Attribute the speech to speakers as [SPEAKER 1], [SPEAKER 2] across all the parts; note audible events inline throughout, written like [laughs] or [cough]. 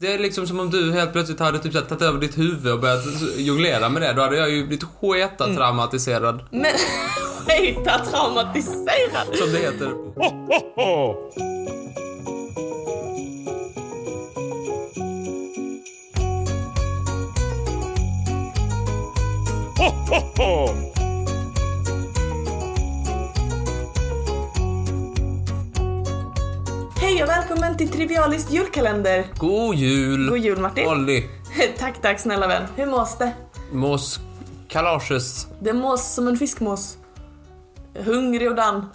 [SPEAKER 1] Det är liksom som om du helt plötsligt hade typ så här, tagit över ditt huvud och börjat jonglera med det. Då hade jag ju blivit sketa traumatiserad,
[SPEAKER 2] Men skita traumatiserad.
[SPEAKER 1] som det heter.
[SPEAKER 2] Hej och välkommen till Trivialist julkalender.
[SPEAKER 1] God jul!
[SPEAKER 2] God jul Martin.
[SPEAKER 1] Olli,
[SPEAKER 2] tack, tack snälla vän. Hur mås det?
[SPEAKER 1] mos, kalages.
[SPEAKER 2] Det mås som en fiskmås. Hungrig och dan.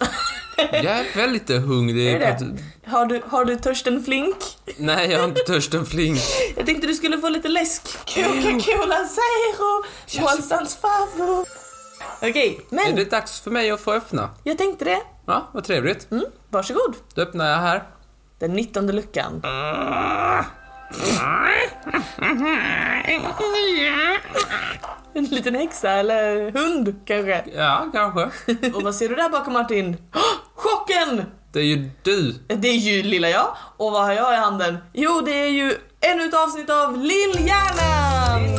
[SPEAKER 1] Jag är väl lite hungrig.
[SPEAKER 2] Är det? Har du, har du törsten flink?
[SPEAKER 1] Nej, jag har inte törsten flink.
[SPEAKER 2] Jag tänkte du skulle få lite läsk. Coca-Cola Zero, Målsans favo. Okej,
[SPEAKER 1] Är
[SPEAKER 2] men
[SPEAKER 1] det dags för mig att få öppna?
[SPEAKER 2] jag tänkte det.
[SPEAKER 1] Ja, vad trevligt.
[SPEAKER 2] Mm, varsågod.
[SPEAKER 1] Då öppnar jag här.
[SPEAKER 2] Den 19 luckan. En liten häxa eller hund kanske.
[SPEAKER 1] Ja, kanske.
[SPEAKER 2] Och vad ser du där bakom Martin? Hå! Chocken!
[SPEAKER 1] Det är ju du.
[SPEAKER 2] Det är ju lilla jag. Och vad har jag i handen? Jo, det är ju ännu ett avsnitt av Lillhjärnan!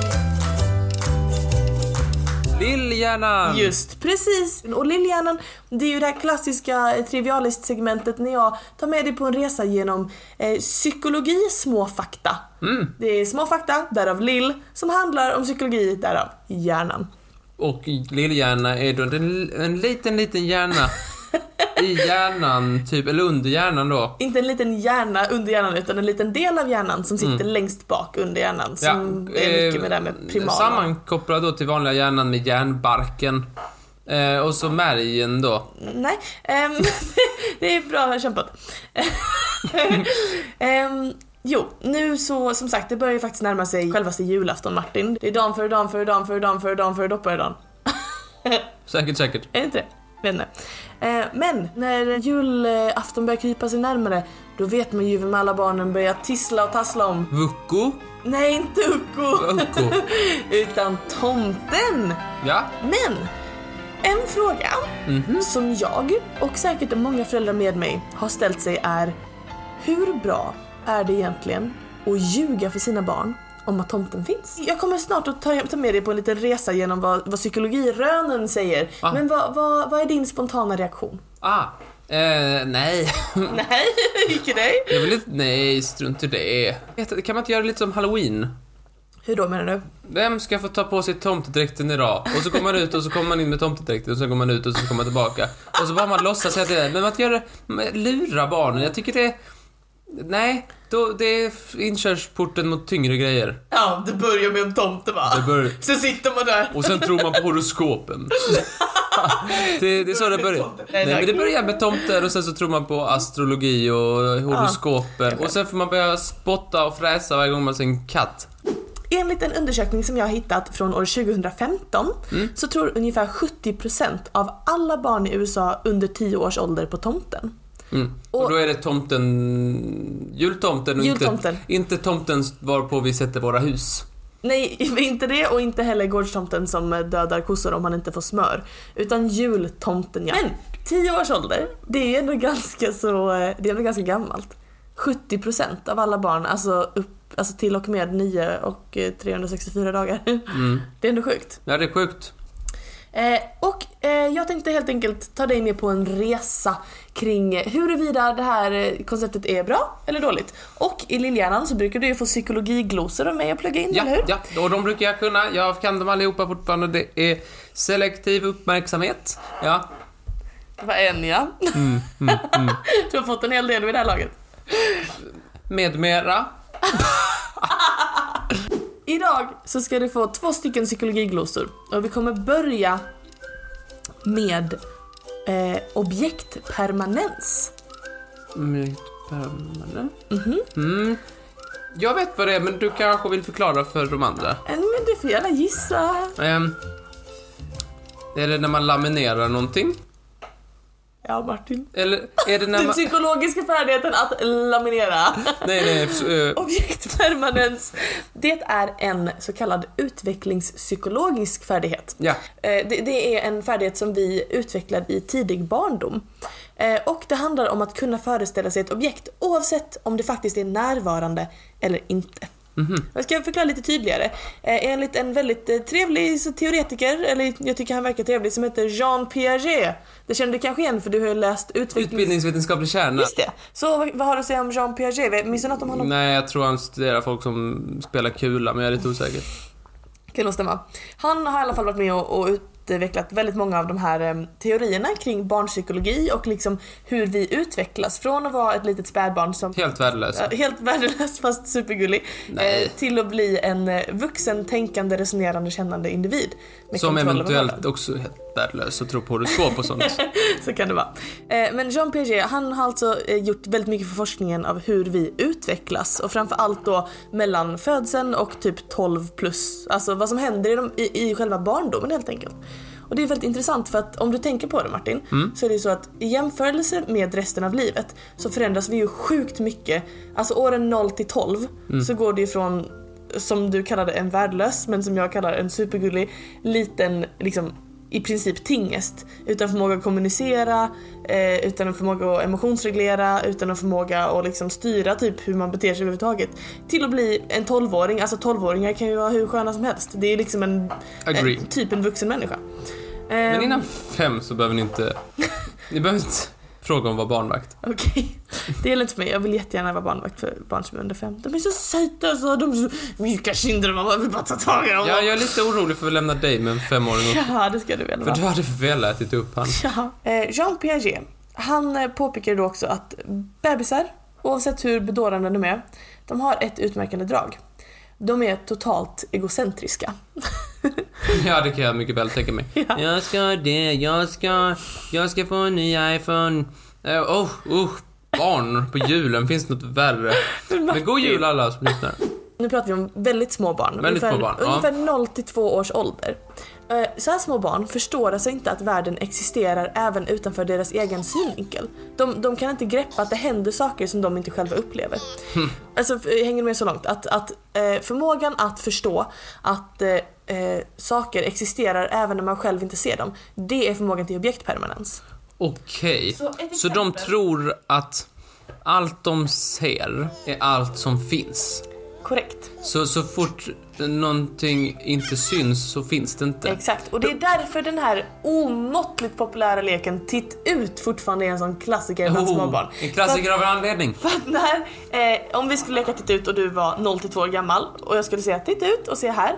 [SPEAKER 1] Lillhjärnan!
[SPEAKER 2] Just precis. Och Lillhjärnan, det är ju det här klassiska eh, trivialist-segmentet när jag tar med dig på en resa genom eh, psykologi små fakta. Det är små fakta, därav lill, som handlar om psykologi, därav hjärnan.
[SPEAKER 1] Och lillhjärna är då en, en liten, liten hjärna i hjärnan, typ, eller under hjärnan då.
[SPEAKER 2] Inte en liten hjärna under hjärnan utan en liten del av hjärnan som sitter längst bak under hjärnan som är mycket med det här med primala.
[SPEAKER 1] eh, Sammankopplad då till vanliga hjärnan med hjärnbarken. Eh, och så märgen då.
[SPEAKER 2] Nej, ehm, [laughs] det är bra kämpat. [laughs] Ehm, jo, nu så som sagt, det börjar ju faktiskt närma sig självaste julafton Martin. Det är dagen före dagen före dagen före dagen före dagen före dopparedagen.
[SPEAKER 1] Säkert, säkert.
[SPEAKER 2] [laughs] Är det inte det? Vet inte. Eh, men när julafton börjar krypa sig närmare, då vet man ju vem alla barnen börjar tissla och tassla om.
[SPEAKER 1] Vucko?
[SPEAKER 2] Nej, inte Ucko!
[SPEAKER 1] Vucko.
[SPEAKER 2] [laughs] Utan tomten!
[SPEAKER 1] Ja.
[SPEAKER 2] Men! En fråga
[SPEAKER 1] Mhm.
[SPEAKER 2] som jag och säkert många föräldrar med mig har ställt sig är Hur bra är det egentligen att ljuga för sina barn om att tomten finns? Jag kommer snart att ta, ta med dig på en liten resa genom vad, vad psykologirönen säger.
[SPEAKER 1] Ah.
[SPEAKER 2] Men vad, vad, vad är din spontana reaktion?
[SPEAKER 1] Ah. Eh, nej. [laughs]
[SPEAKER 2] Nej, [laughs] icke dig.
[SPEAKER 1] Jag vill inte, nej, strunt i det. Vet du, Kan man inte göra det lite som halloween?
[SPEAKER 2] Hur då menar du?
[SPEAKER 1] Vem ska få ta på sig tomtedräkten idag? Och så kommer man ut och så kommer man in med tomtedräkten och så går man ut och så kommer man tillbaka. Och så bara man låtsas att det är... Men att göra... Lura barnen, jag tycker det... Nej, då, det är inkörsporten mot tyngre grejer.
[SPEAKER 2] Ja, det börjar med en tomte va?
[SPEAKER 1] Det bör,
[SPEAKER 2] Sen sitter man där.
[SPEAKER 1] och sen tror man på
[SPEAKER 2] [laughs]
[SPEAKER 1] horoskopen. Det, det är så det börjar. Nej, men det börjar med tomter och sen så tror man på astrologi och horoskopen. Och sen får man börja spotta och fräsa varje gång man ser en katt.
[SPEAKER 2] Enligt en undersökning som jag har hittat från år 2015 så tror ungefär 70% av alla barn i USA under 10 års ålder på tomten.
[SPEAKER 1] Mm. Och,
[SPEAKER 2] Och-
[SPEAKER 1] då är det tomten, jultomten och
[SPEAKER 2] Jultomten.
[SPEAKER 1] Inte, inte tomten varpå vi sätter våra hus.
[SPEAKER 2] Nej, [laughs] inte det och inte heller gårdstomten som dödar kossor om han inte får smör. Utan jultomten ja. Men 10 års ålder, det är ju ändå ganska så, eh, det är ändå ganska gammalt. 70% av alla barn, alltså, upp, alltså till och med 9 och eh, 364 dagar. [laughs] Det är ändå sjukt.
[SPEAKER 1] Ja, det är sjukt.
[SPEAKER 2] Eh, och eh, jag tänkte helt enkelt ta dig med på en resa kring huruvida det här eh, konceptet är bra eller dåligt. Och i Lillhjärnan så brukar du ju få psykologiglosor av mig att plugga in,
[SPEAKER 1] Ja,
[SPEAKER 2] eller hur?
[SPEAKER 1] ja, och de brukar jag kunna. Jag kan dem allihopa fortfarande. Det är selektiv uppmärksamhet. Ja,
[SPEAKER 2] Det var en ja. [laughs] du har fått en hel del vid det här laget.
[SPEAKER 1] med mera.
[SPEAKER 2] Idag så ska du få två stycken psykologiglosor och vi kommer börja med eh, objektpermanens.
[SPEAKER 1] Med permanent.
[SPEAKER 2] Mhm.
[SPEAKER 1] Mm. Jag vet vad det är, men du kanske vill förklara för de andra.
[SPEAKER 2] Eh, Men du får gärna gissa.
[SPEAKER 1] Ehm, är det när man laminerar någonting?
[SPEAKER 2] Ja, Martin.
[SPEAKER 1] Eller är det när
[SPEAKER 2] Den [laughs]
[SPEAKER 1] man...
[SPEAKER 2] psykologiska färdigheten att laminera. [laughs]
[SPEAKER 1] Nej, nej. f- eh,
[SPEAKER 2] Objektpermanens, det är en så kallad utvecklingspsykologisk färdighet.
[SPEAKER 1] Ja.
[SPEAKER 2] Eh, Det, det är en färdighet som vi utvecklar i tidig barndom. Eh, Och det handlar om att kunna föreställa sig ett objekt oavsett om det faktiskt är närvarande eller inte.
[SPEAKER 1] Mhm.
[SPEAKER 2] Jag ska förklara lite tydligare. Eh, enligt en väldigt eh, trevlig så- teoretiker, eller jag tycker han verkar trevlig, som heter Jean Piaget. Det känner du kanske igen för du har ju läst utveckling...
[SPEAKER 1] Utbildningsvetenskaplig kärna.
[SPEAKER 2] Just det. Så vad, vad har du att säga om Jean Piaget? Minns du något om honom?
[SPEAKER 1] Nej, jag tror han studerar folk som spelar kula, men jag är lite osäker.
[SPEAKER 2] Kan nog stämma. Han har i alla fall varit med och, och utvecklat väldigt många av de här em, teorierna kring barnpsykologi och liksom hur vi utvecklas från att vara ett litet spädbarn som
[SPEAKER 1] Helt värdelös.
[SPEAKER 2] Ja, helt [laughs] värdelös fast supergullig.
[SPEAKER 1] Nej.
[SPEAKER 2] eh, Till att bli en eh, vuxen, tänkande, resonerande, kännande individ. med
[SPEAKER 1] Som
[SPEAKER 2] kontroll över vardagen.
[SPEAKER 1] eventuellt också är helt värdelös och tror på horoskop
[SPEAKER 2] [laughs]
[SPEAKER 1] och sånt.
[SPEAKER 2] Så kan det vara. Eh, Men Jean Piaget, han har alltså eh, gjort väldigt mycket för forskningen av hur vi utvecklas och framförallt då mellan födseln och typ 12 plus. Alltså vad som händer i, de, i, i själva barndomen helt enkelt. Och det är väldigt intressant för att om du tänker på det Martin, så är det ju så att i jämförelse med resten av livet så förändras vi ju sjukt mycket. Alltså åren 0 till 12 så går det ju från som du kallade en värdelös men som jag kallar en supergullig liten liksom i princip tingest. Utan förmåga att kommunicera, eh, utan en förmåga att emotionsreglera, utan en förmåga att liksom styra typ hur man beter sig överhuvudtaget. Till att bli en 12-åring, alltså 12-åringar kan ju vara hur sköna som helst. Det är liksom en,
[SPEAKER 1] Agree.
[SPEAKER 2] en typ en vuxen människa.
[SPEAKER 1] Men
[SPEAKER 2] Ehm,
[SPEAKER 1] innan fem så behöver ni inte... Ni behöver inte fråga om vad barnvakt.
[SPEAKER 2] Okej, det gäller inte för mig. Jag vill jättegärna vara barnvakt för barn som är under fem. De är så söta och så, de är så mjuka kinder och man vill bara ta tag i dem.
[SPEAKER 1] Ja, jag är lite orolig för att lämna dig med en femåring upp.
[SPEAKER 2] ja, det ska du väl
[SPEAKER 1] För
[SPEAKER 2] vara.
[SPEAKER 1] du hade väl ätit upp han. [laughs]
[SPEAKER 2] Ja. Eh, Jean Piaget, han eh, påpekade då också att bebisar, oavsett hur bedårande de är, de har ett utmärkande drag. De är totalt egocentriska.
[SPEAKER 1] Ja, det kan jag mycket väl tänka mig.
[SPEAKER 2] Ja.
[SPEAKER 1] Jag ska det, jag ska... Jag ska få en ny iPhone. Eh, oh, oh, barn på julen. Finns det något värre? Men god jul alla som lyssnar.
[SPEAKER 2] Nu pratar vi om väldigt små barn.
[SPEAKER 1] Väldigt små barn, ja.
[SPEAKER 2] ungefär 0 till 2 års ålder. Eh, Så här små barn förstår alltså inte att världen existerar även utanför deras egen synvinkel. De, de kan inte greppa att det händer saker som de inte själva upplever.
[SPEAKER 1] Hm.
[SPEAKER 2] Alltså, f- hänger du med så långt? Att, att eh, förmågan att förstå att eh, eh, saker existerar även när man själv inte ser dem, det är förmågan till objektpermanens.
[SPEAKER 1] Okej.
[SPEAKER 2] Så ett
[SPEAKER 1] Så de
[SPEAKER 2] exempel.
[SPEAKER 1] tror att allt de ser är allt som finns.
[SPEAKER 2] Korrekt.
[SPEAKER 1] Så, så fort någonting inte syns så finns det inte.
[SPEAKER 2] Exakt, och det är därför den här omåttligt populära leken Titt ut fortfarande är en sån klassiker bland
[SPEAKER 1] Oh,
[SPEAKER 2] småbarn.
[SPEAKER 1] en klassiker av en anledning.
[SPEAKER 2] För att när, eh, om vi skulle leka titt ut och du var 0 till 2 år gammal och jag skulle säga titt ut och se här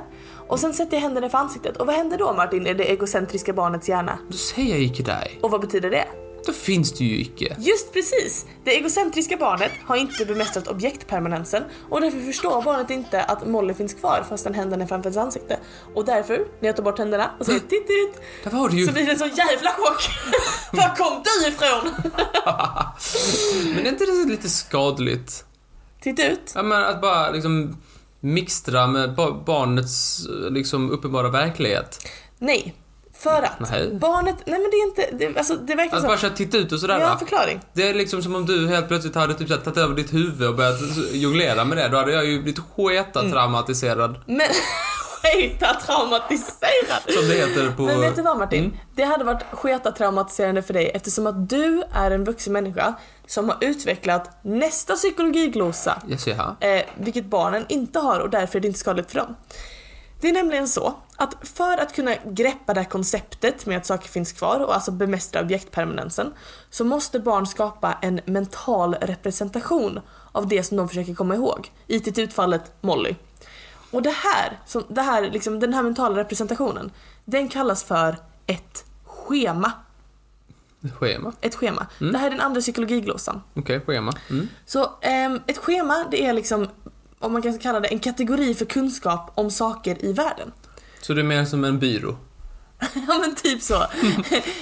[SPEAKER 2] och sen sätter jag händerna för ansiktet och vad händer då Martin i det egocentriska barnets hjärna?
[SPEAKER 1] Då säger jag icke dig.
[SPEAKER 2] Och vad betyder det?
[SPEAKER 1] Då finns det ju icke.
[SPEAKER 2] Just precis! Det egocentriska barnet har inte bemästrat objektpermanensen och därför förstår barnet inte att Molly finns kvar fastän händerna är framför dess ansikte. Och därför, när jag tar bort händerna och säger titt ut
[SPEAKER 1] Där var du ju.
[SPEAKER 2] så blir det en sån jävla [laughs] chock. Var kom du ifrån?
[SPEAKER 1] Men är inte det lite skadligt?
[SPEAKER 2] Titt ut.
[SPEAKER 1] Ja, men att bara liksom mixtra med ba- barnets liksom uppenbara verklighet.
[SPEAKER 2] Nej. För att
[SPEAKER 1] Nej.
[SPEAKER 2] barnet, nej men det är inte, det, alltså det verkar
[SPEAKER 1] Att
[SPEAKER 2] som...
[SPEAKER 1] bara köra titta ut och sådär.
[SPEAKER 2] Jag har en
[SPEAKER 1] va?
[SPEAKER 2] förklaring.
[SPEAKER 1] Det är liksom som om du helt plötsligt hade typ så här tagit över ditt huvud och börjat jonglera med det. Då hade jag ju blivit sketa traumatiserad.
[SPEAKER 2] Men [laughs] sketa traumatiserad!
[SPEAKER 1] Som det heter på... Mm.
[SPEAKER 2] Men vet du vad Martin? Det hade varit sketa traumatiserande för dig eftersom att du är en vuxen människa som har utvecklat nästa psykologiglosa.
[SPEAKER 1] Yes, ja.
[SPEAKER 2] eh, vilket barnen inte har och därför är det inte skadligt för dem. Det är nämligen så att för att kunna greppa det här konceptet med att saker finns kvar och alltså bemästra objektpermanensen så måste barn skapa en mental representation av det som de försöker komma ihåg. I till utfallet Molly. Och det här, som, det här liksom, den här mentala representationen, den kallas för ett schema.
[SPEAKER 1] Schema.
[SPEAKER 2] Ett schema. Det här är den andra psykologiglosan.
[SPEAKER 1] Okej, schema. Mm.
[SPEAKER 2] Så ehm, ett schema det är liksom, om man kan kalla det, en kategori för kunskap om saker i världen.
[SPEAKER 1] Så det är mer som en byrå?
[SPEAKER 2] [laughs] ja men typ så.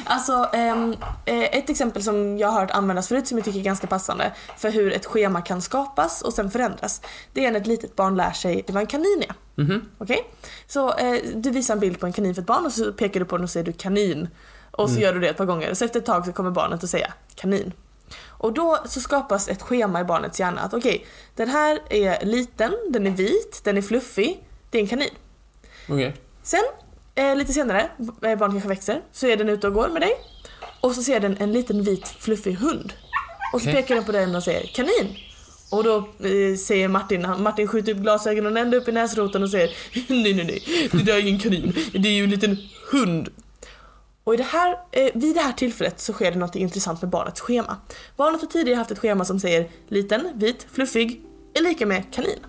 [SPEAKER 2] alltså ehm, eh, ett exempel som jag har hört användas förut som jag tycker är ganska passande för hur ett schema kan skapas och sen förändras. Det är när ett litet barn lär sig vad en kanin är.
[SPEAKER 1] Mhm.
[SPEAKER 2] Okej? Så eh, du visar en bild på en kanin för ett barn och så pekar du på den och säger du kanin. Och så gör du det ett par gånger så efter ett tag så kommer barnet att säga kanin. Och då så skapas ett schema i barnets hjärna att okej, den här är liten, den är vit, den är fluffig, det är en kanin.
[SPEAKER 1] Okej.
[SPEAKER 2] Sen, eh, lite senare, b- eh, barnet kanske växer, så är den ute och går med dig. Och så ser den en liten vit fluffig hund. Och så
[SPEAKER 1] Okej.
[SPEAKER 2] pekar den på den och säger kanin. Och då eh, säger Martin, han, Martin skjuter upp glasögonen ända upp i näsroten och säger [laughs] Nej nej nej, det där är ingen kanin, det är ju en liten hund. Och i det här, eh, vid det här tillfället så sker det något intressant med barnets schema. Barnet har tidigare haft ett schema som säger liten, vit, fluffig är lika med kanin.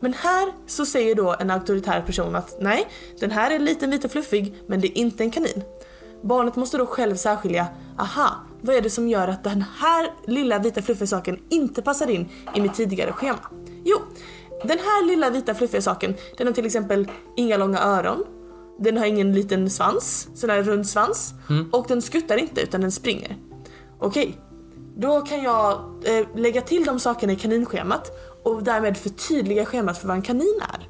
[SPEAKER 2] Men här så säger då en auktoritär person att nej, den här är liten, vit och fluffig men det är inte en kanin. Barnet måste då själv särskilja, aha, vad är det som gör att den här lilla vita fluffiga saken inte passar in i mitt tidigare schema? Jo, den här lilla vita fluffiga saken, den har till exempel inga långa öron, den har ingen liten svans, sån här rund svans, och den skuttar inte utan den springer. Okej, då kan jag eh, lägga till de sakerna i kaninschemat och därmed förtydliga schemat för vad en kanin är.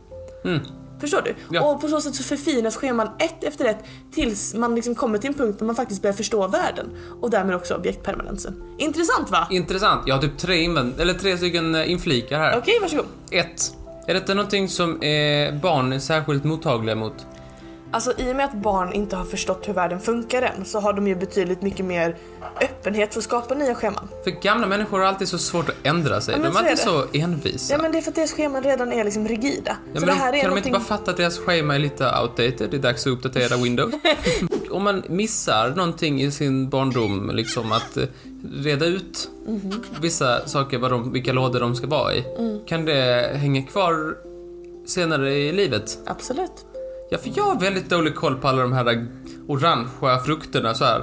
[SPEAKER 2] Förstår du?
[SPEAKER 1] Mm. Ja.
[SPEAKER 2] Och på så sätt så förfinas scheman ett efter ett tills man liksom kommer till en punkt där man faktiskt börjar förstå världen och därmed också objektpermanensen. Intressant va?
[SPEAKER 1] Intressant. Jag har typ tre, invänd- eller tre stycken eh, inflikar här.
[SPEAKER 2] Okej, varsågod.
[SPEAKER 1] Ett. Är detta någonting som eh, barn är särskilt mottagliga mot?
[SPEAKER 2] Alltså i och med att barn inte har förstått hur världen funkar än så har de ju betydligt mycket mer öppenhet för att skapa nya scheman.
[SPEAKER 1] För gamla människor har alltid så svårt att ändra sig.
[SPEAKER 2] men
[SPEAKER 1] de är
[SPEAKER 2] så
[SPEAKER 1] alltid så envisa.
[SPEAKER 2] Ja men det är för att deras scheman redan är liksom rigida.
[SPEAKER 1] Ja, men
[SPEAKER 2] så det
[SPEAKER 1] de- kan
[SPEAKER 2] här är
[SPEAKER 1] de inte
[SPEAKER 2] någonting...
[SPEAKER 1] bara fatta att deras schema är lite outdated? Det är dags att uppdatera
[SPEAKER 2] [laughs]
[SPEAKER 1] Windows. Om man missar någonting i sin barndom, liksom att eh, reda ut
[SPEAKER 2] Mhm.
[SPEAKER 1] vissa saker, vad de, vilka lådor de ska vara i.
[SPEAKER 2] Mm.
[SPEAKER 1] Kan det hänga kvar senare i livet?
[SPEAKER 2] Absolut.
[SPEAKER 1] Ja, för jag har väldigt dålig koll på alla de här orangea frukterna så här.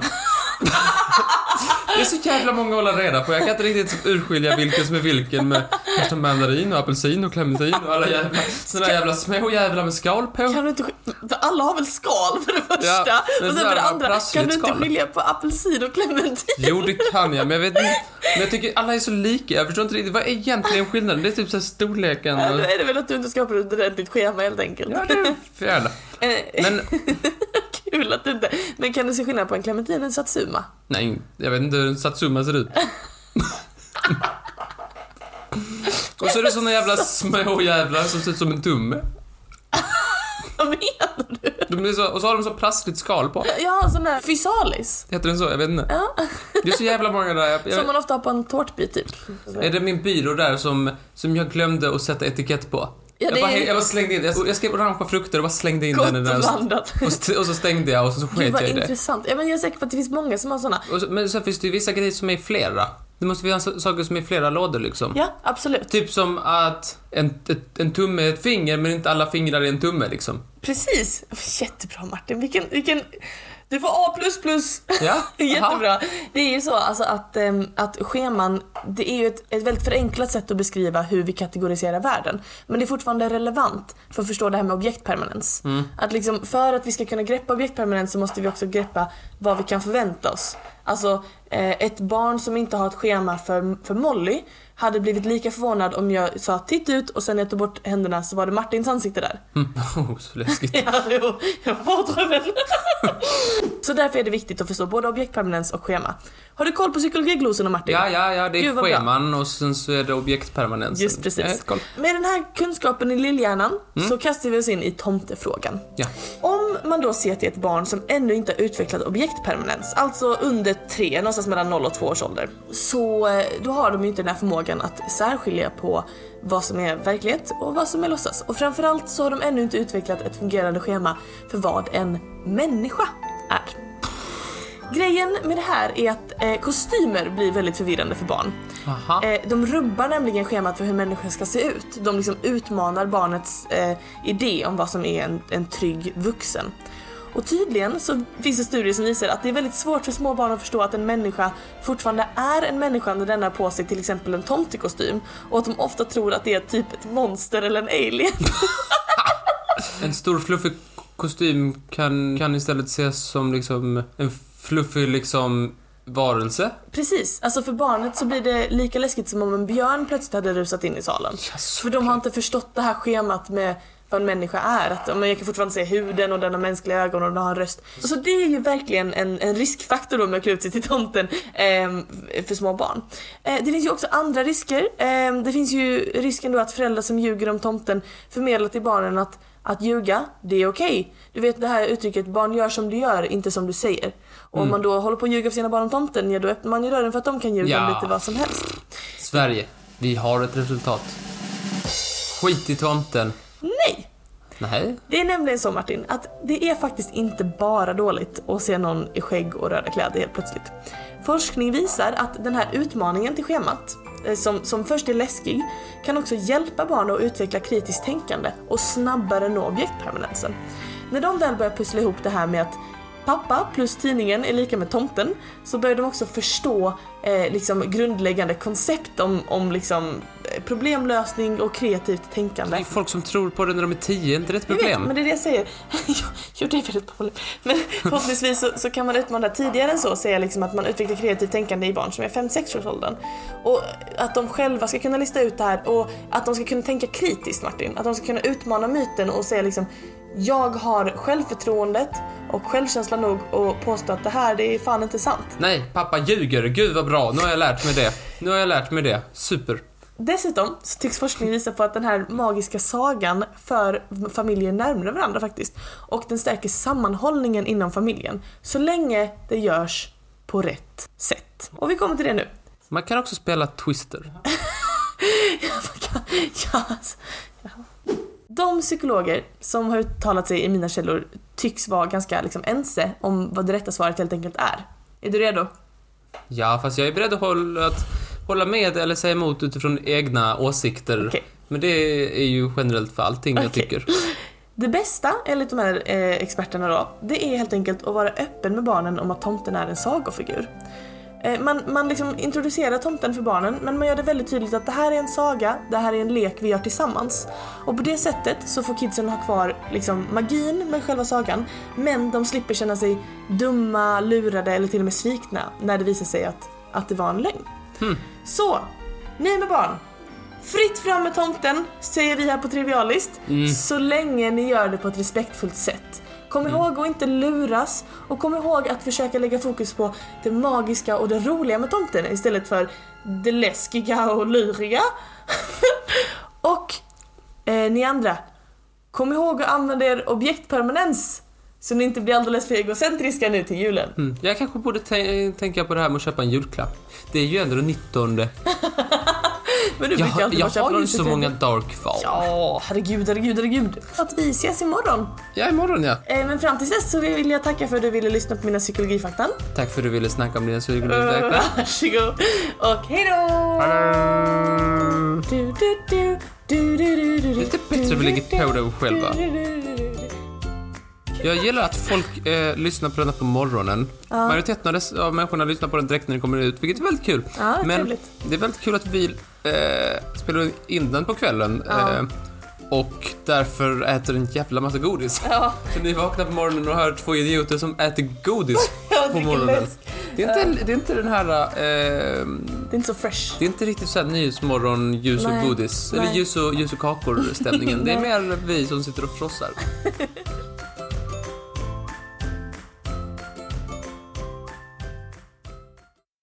[SPEAKER 1] Det är så jävla många att hålla reda på. Jag kan inte riktigt urskilja vilken som är vilken med först en mandarin och apelsin och clementin och alla jävla såna där jävla små jävlar med skal på.
[SPEAKER 2] Kan du inte... sk- för Alla har väl skal för det första?
[SPEAKER 1] Ja, men
[SPEAKER 2] och
[SPEAKER 1] så
[SPEAKER 2] sen
[SPEAKER 1] här,
[SPEAKER 2] för det andra,
[SPEAKER 1] prassligt
[SPEAKER 2] kan du inte
[SPEAKER 1] skal.
[SPEAKER 2] skilja på apelsin och clementin?
[SPEAKER 1] Jo, det kan jag, men jag vet inte. Men jag tycker alla är så lika. Jag förstår inte riktigt. Vad är egentligen skillnaden? Det är typ så här storleken
[SPEAKER 2] Ja,
[SPEAKER 1] och...
[SPEAKER 2] Då är det väl att du inte skapar ett ordentligt schema helt enkelt.
[SPEAKER 1] Ja, det är fjärde.
[SPEAKER 2] [laughs] Eh,
[SPEAKER 1] Men
[SPEAKER 2] Kul att du inte... Men kan du se skillnad på en clementin och en satsuma? [laughs]
[SPEAKER 1] nej, jag vet inte hur en satsuma ser ut. Och så är det såna jävla små jävlar som ser ut som en tumme.
[SPEAKER 2] Vad menar du?
[SPEAKER 1] De är så, och så har de så prassligt skal på.
[SPEAKER 2] Jag har en sån där fysalis.
[SPEAKER 1] Heter den så? Jag vet inte.
[SPEAKER 2] Ja.
[SPEAKER 1] Det är så jävla många där. Jag,
[SPEAKER 2] Som
[SPEAKER 1] jag,
[SPEAKER 2] man ofta har på en tårtbit typ.
[SPEAKER 1] är det min byrå där som, som jag glömde att sätta etikett på?
[SPEAKER 2] Ja, det
[SPEAKER 1] jag, bara,
[SPEAKER 2] är-
[SPEAKER 1] jag bara slängde in, jag, jag skrev orangea frukter och bara slängde in
[SPEAKER 2] Gott
[SPEAKER 1] den i den.
[SPEAKER 2] blandat.
[SPEAKER 1] Och, st- och så stängde jag och så
[SPEAKER 2] [laughs] Gud
[SPEAKER 1] sket
[SPEAKER 2] vad
[SPEAKER 1] jag i det.
[SPEAKER 2] intressant. Ja, men jag är säker på att det finns många som har såna.
[SPEAKER 1] Och så, men sen finns det ju vissa grejer som är i flera. Det måste finnas so- saker som är i flera lådor liksom.
[SPEAKER 2] Ja, absolut.
[SPEAKER 1] Typ som att en, ett, en tumme är ett finger men inte alla fingrar är en tumme liksom.
[SPEAKER 2] Precis. Jättebra Martin. Vilken, vilken... Du får A++.
[SPEAKER 1] Ja?
[SPEAKER 2] [laughs] Jättebra. Det är ju så alltså att, ehm, att scheman, det är ju ett, ett väldigt förenklat sätt att beskriva hur vi kategoriserar världen. Men det är fortfarande relevant för att förstå det här med objektpermanens. Att liksom, för att vi ska kunna greppa objektpermanens så måste vi också greppa vad vi kan förvänta oss. Alltså eh, ett barn som inte har ett schema för, för Molly hade blivit lika förvånad om jag sa titt ut och sen när jag tog bort händerna så var det Martins ansikte där.
[SPEAKER 1] Oh, så läskigt.
[SPEAKER 2] [laughs] Ja, jo, jag var drömmen. [laughs] Så därför är det viktigt att förstå både objektpermanens och schema. Har du koll på psykologiglosorna Martin?
[SPEAKER 1] Ja, ja, ja, det är
[SPEAKER 2] Gud, vad bra.
[SPEAKER 1] scheman och sen så är det Eh, objektpermanensen.
[SPEAKER 2] Just
[SPEAKER 1] Jag har
[SPEAKER 2] precis.
[SPEAKER 1] koll. Mm.
[SPEAKER 2] Med den här kunskapen i lillhjärnan så kastar vi oss in i tomtefrågan.
[SPEAKER 1] Ja.
[SPEAKER 2] Om man då ser till ett barn som ännu inte har utvecklat objektpermanens, alltså under tre, någonstans mellan 0 och 2 års ålder, så eh, då har de ju inte den här förmågan att särskilja på vad som är verklighet och vad som är låtsas. Och framförallt så har de ännu inte utvecklat ett fungerande schema för vad en människa är. Grejen med det här är att eh, kostymer blir väldigt förvirrande för barn.
[SPEAKER 1] Aha.
[SPEAKER 2] Eh, de rubbar nämligen schemat för hur människan ska se ut. De liksom utmanar barnets eh, idé om vad som är en, en trygg vuxen. Och tydligen så finns det studier som visar att det är väldigt svårt för små barn att förstå att en människa fortfarande är en människa när den har på sig till exempel en tomtekostym och att de ofta tror att det är typ ett monster eller en alien.
[SPEAKER 1] En stor fluffig k- kostym kan, kan istället ses som liksom en fluffig liksom varelse.
[SPEAKER 2] Precis, alltså för barnet så blir det lika läskigt som om en björn plötsligt hade rusat in i salen.
[SPEAKER 1] Yes.
[SPEAKER 2] För de har inte förstått det här schemat med vad en människa är. Att, ja, men jag kan fortfarande se huden och den har mänskliga ögon och den har en röst. Så det är ju verkligen en, en riskfaktor då med att klä ut sig till tomten ehm, för små barn. Eh, det finns ju också andra risker. Ehm, det finns ju risken då att föräldrar som ljuger om tomten förmedlar till barnen att att ljuga, det är okej. Du vet det här uttrycket, barn gör som du gör, inte som du säger. Och om man då håller på att ljuga för sina barn om tomten, ja då öppnar man ju dörren för att de kan ljuga om
[SPEAKER 1] Ja.
[SPEAKER 2] lite vad som helst.
[SPEAKER 1] Sverige. Vi har ett resultat. Skit i tomten.
[SPEAKER 2] Nej!
[SPEAKER 1] Nej.
[SPEAKER 2] Det är nämligen så Martin, att det är faktiskt inte bara dåligt att se någon i skägg och röda kläder helt plötsligt. Forskning visar att den här utmaningen till schemat, eh, som, som först är läskig, kan också hjälpa barn att utveckla kritiskt tänkande och snabbare nå objektpermanensen. När de väl börjar pussla ihop det här med att pappa plus tidningen är lika med tomten så börjar de också förstå eh, liksom grundläggande koncept om, om liksom, eh, problemlösning och kreativt
[SPEAKER 1] Det
[SPEAKER 2] tänkande.
[SPEAKER 1] är folk som tror på det när de är tio, är inte det ett
[SPEAKER 2] Jag vet,
[SPEAKER 1] problem?
[SPEAKER 2] men det är det jag säger. [laughs] Jo, jo det är väl ett problem. Men förhoppningsvis så, så kan man utmana tidigare än så, säga liksom att man utvecklar kreativt tänkande i barn som är 5-6 års åldern. Och att de själva ska kunna lista ut det här och att de ska kunna tänka kritiskt Martin. Att de ska kunna utmana myten och säga liksom jag har självförtroendet och självkänsla nog att påstå att det här det är fan inte sant.
[SPEAKER 1] Nej, pappa ljuger. Gud vad bra, nu har jag lärt mig det. Nu har jag lärt mig det. Super.
[SPEAKER 2] Dessutom så tycks forskning visa på att den här magiska sagan för familjer närmare varandra faktiskt. Och den stärker sammanhållningen inom familjen. Så länge det görs på rätt sätt. Och vi kommer till det nu. [laughs]
[SPEAKER 1] Man kan också spela Twister.
[SPEAKER 2] ja, alltså, ja. De psykologer som har uttalat sig i mina källor tycks vara ganska liksom, ense om vad det rätta svaret helt enkelt är. Är du redo?
[SPEAKER 1] Ja, fast jag är beredd att hålla, att hålla med eller säga emot utifrån egna åsikter.
[SPEAKER 2] Okej.
[SPEAKER 1] Men det är ju generellt för allting jag
[SPEAKER 2] Okej.
[SPEAKER 1] tycker.
[SPEAKER 2] Det bästa, enligt de här eh, experterna då, det är helt enkelt att vara öppen med barnen om att tomten är en sagofigur. Eh, man man liksom introducerar tomten för barnen men man gör det väldigt tydligt att det här är en saga, det här är en lek vi gör tillsammans. Och på det sättet så får kidsen ha kvar liksom, magin med själva sagan men de slipper känna sig dumma, lurade eller till och med svikna när det visar sig att, att det var en lögn. Så, ni med barn! Fritt fram med tomten, säger vi här på Trivialist.
[SPEAKER 1] Mm.
[SPEAKER 2] Så länge ni gör det på ett respektfullt sätt. Kom
[SPEAKER 1] Mm.
[SPEAKER 2] ihåg att inte luras och kom ihåg att försöka lägga fokus på det magiska och det roliga med tomten istället för det läskiga och luriga. [laughs] och eh, ni andra, kom ihåg att använda er objektpermanens så ni inte blir alldeles för egocentriska nu till julen.
[SPEAKER 1] Mm. Jag kanske borde tän- tänka på det här med att köpa en julklapp. Det är ju ändå den 19.
[SPEAKER 2] Men du
[SPEAKER 1] Jag,
[SPEAKER 2] brukar
[SPEAKER 1] jag
[SPEAKER 2] alltid bara köpa
[SPEAKER 1] har
[SPEAKER 2] dem
[SPEAKER 1] ju
[SPEAKER 2] till
[SPEAKER 1] så
[SPEAKER 2] jul.
[SPEAKER 1] många dark val. Ja.
[SPEAKER 2] Ja, herregud, herregud, herregud. Att vi ses imorgon.
[SPEAKER 1] imorgon ja.
[SPEAKER 2] Eh, Men fram till dess så vill jag tacka för att du ville lyssna på mina psykologifakta.
[SPEAKER 1] Tack för att du ville snacka om dina
[SPEAKER 2] Eh.
[SPEAKER 1] psykologiska
[SPEAKER 2] [laughs] Varsågod. Och hejdå! Du, du, du, du, du, du, du,
[SPEAKER 1] Lite
[SPEAKER 2] du,
[SPEAKER 1] bättre
[SPEAKER 2] du,
[SPEAKER 1] vi lägger på det själva.
[SPEAKER 2] du, du, du, du, du.
[SPEAKER 1] Jag gillar att folk eh, lyssnar på denna på morgonen. Majoriteten av, dess, av människorna lyssnar på den direkt när den kommer ut, vilket är väldigt kul.
[SPEAKER 2] Ja,
[SPEAKER 1] Men
[SPEAKER 2] trevligt.
[SPEAKER 1] det är väldigt kul att vi eh, spelar in den på kvällen.
[SPEAKER 2] Ja.
[SPEAKER 1] Eh, och därför äter en jävla massa godis.
[SPEAKER 2] Ja,
[SPEAKER 1] Så ni vaknar på morgonen och hör två idioter som äter
[SPEAKER 2] [laughs]
[SPEAKER 1] godis
[SPEAKER 2] jag
[SPEAKER 1] på
[SPEAKER 2] dricker
[SPEAKER 1] morgonen.
[SPEAKER 2] läsk.
[SPEAKER 1] Det är inte, det är inte den här... Eh,
[SPEAKER 2] Det är inte så fresh.
[SPEAKER 1] det är inte riktigt såhär nyhetsmorgon, ljus och
[SPEAKER 2] Nej.
[SPEAKER 1] godis. Eller
[SPEAKER 2] Nej.
[SPEAKER 1] ljus och, ljus och kakor-stämningen. det är mer vi som sitter och frossar.